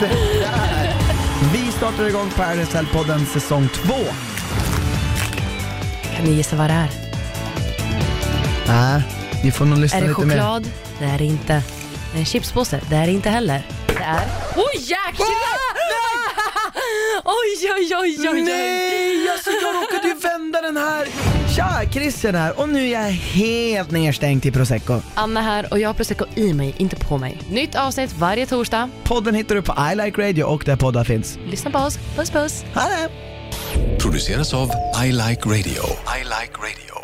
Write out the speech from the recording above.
Så där. Vi startar igång Paradise Hotel-podden säsong 2. Kan ni gissa vad det är? Nej, Äh, ni får nog lyssna Är det lite mer. choklad? Det är det inte. Det är en chipspåse? Det är det inte heller. Det är... Oj jäklar! Oj, oj, oj, oj, oj. Nej, alltså jag råkade ju vända den här. Tja, Christian här och nu är jag helt nedstängd i prosecco. Anna här och jag har prosecco i mig, inte på mig. Nytt avsnitt varje torsdag. Podden hittar du på I Like Radio och där poddar finns. Lyssna på oss. Puss puss! Hallå! Produceras av I Like Radio. I like radio.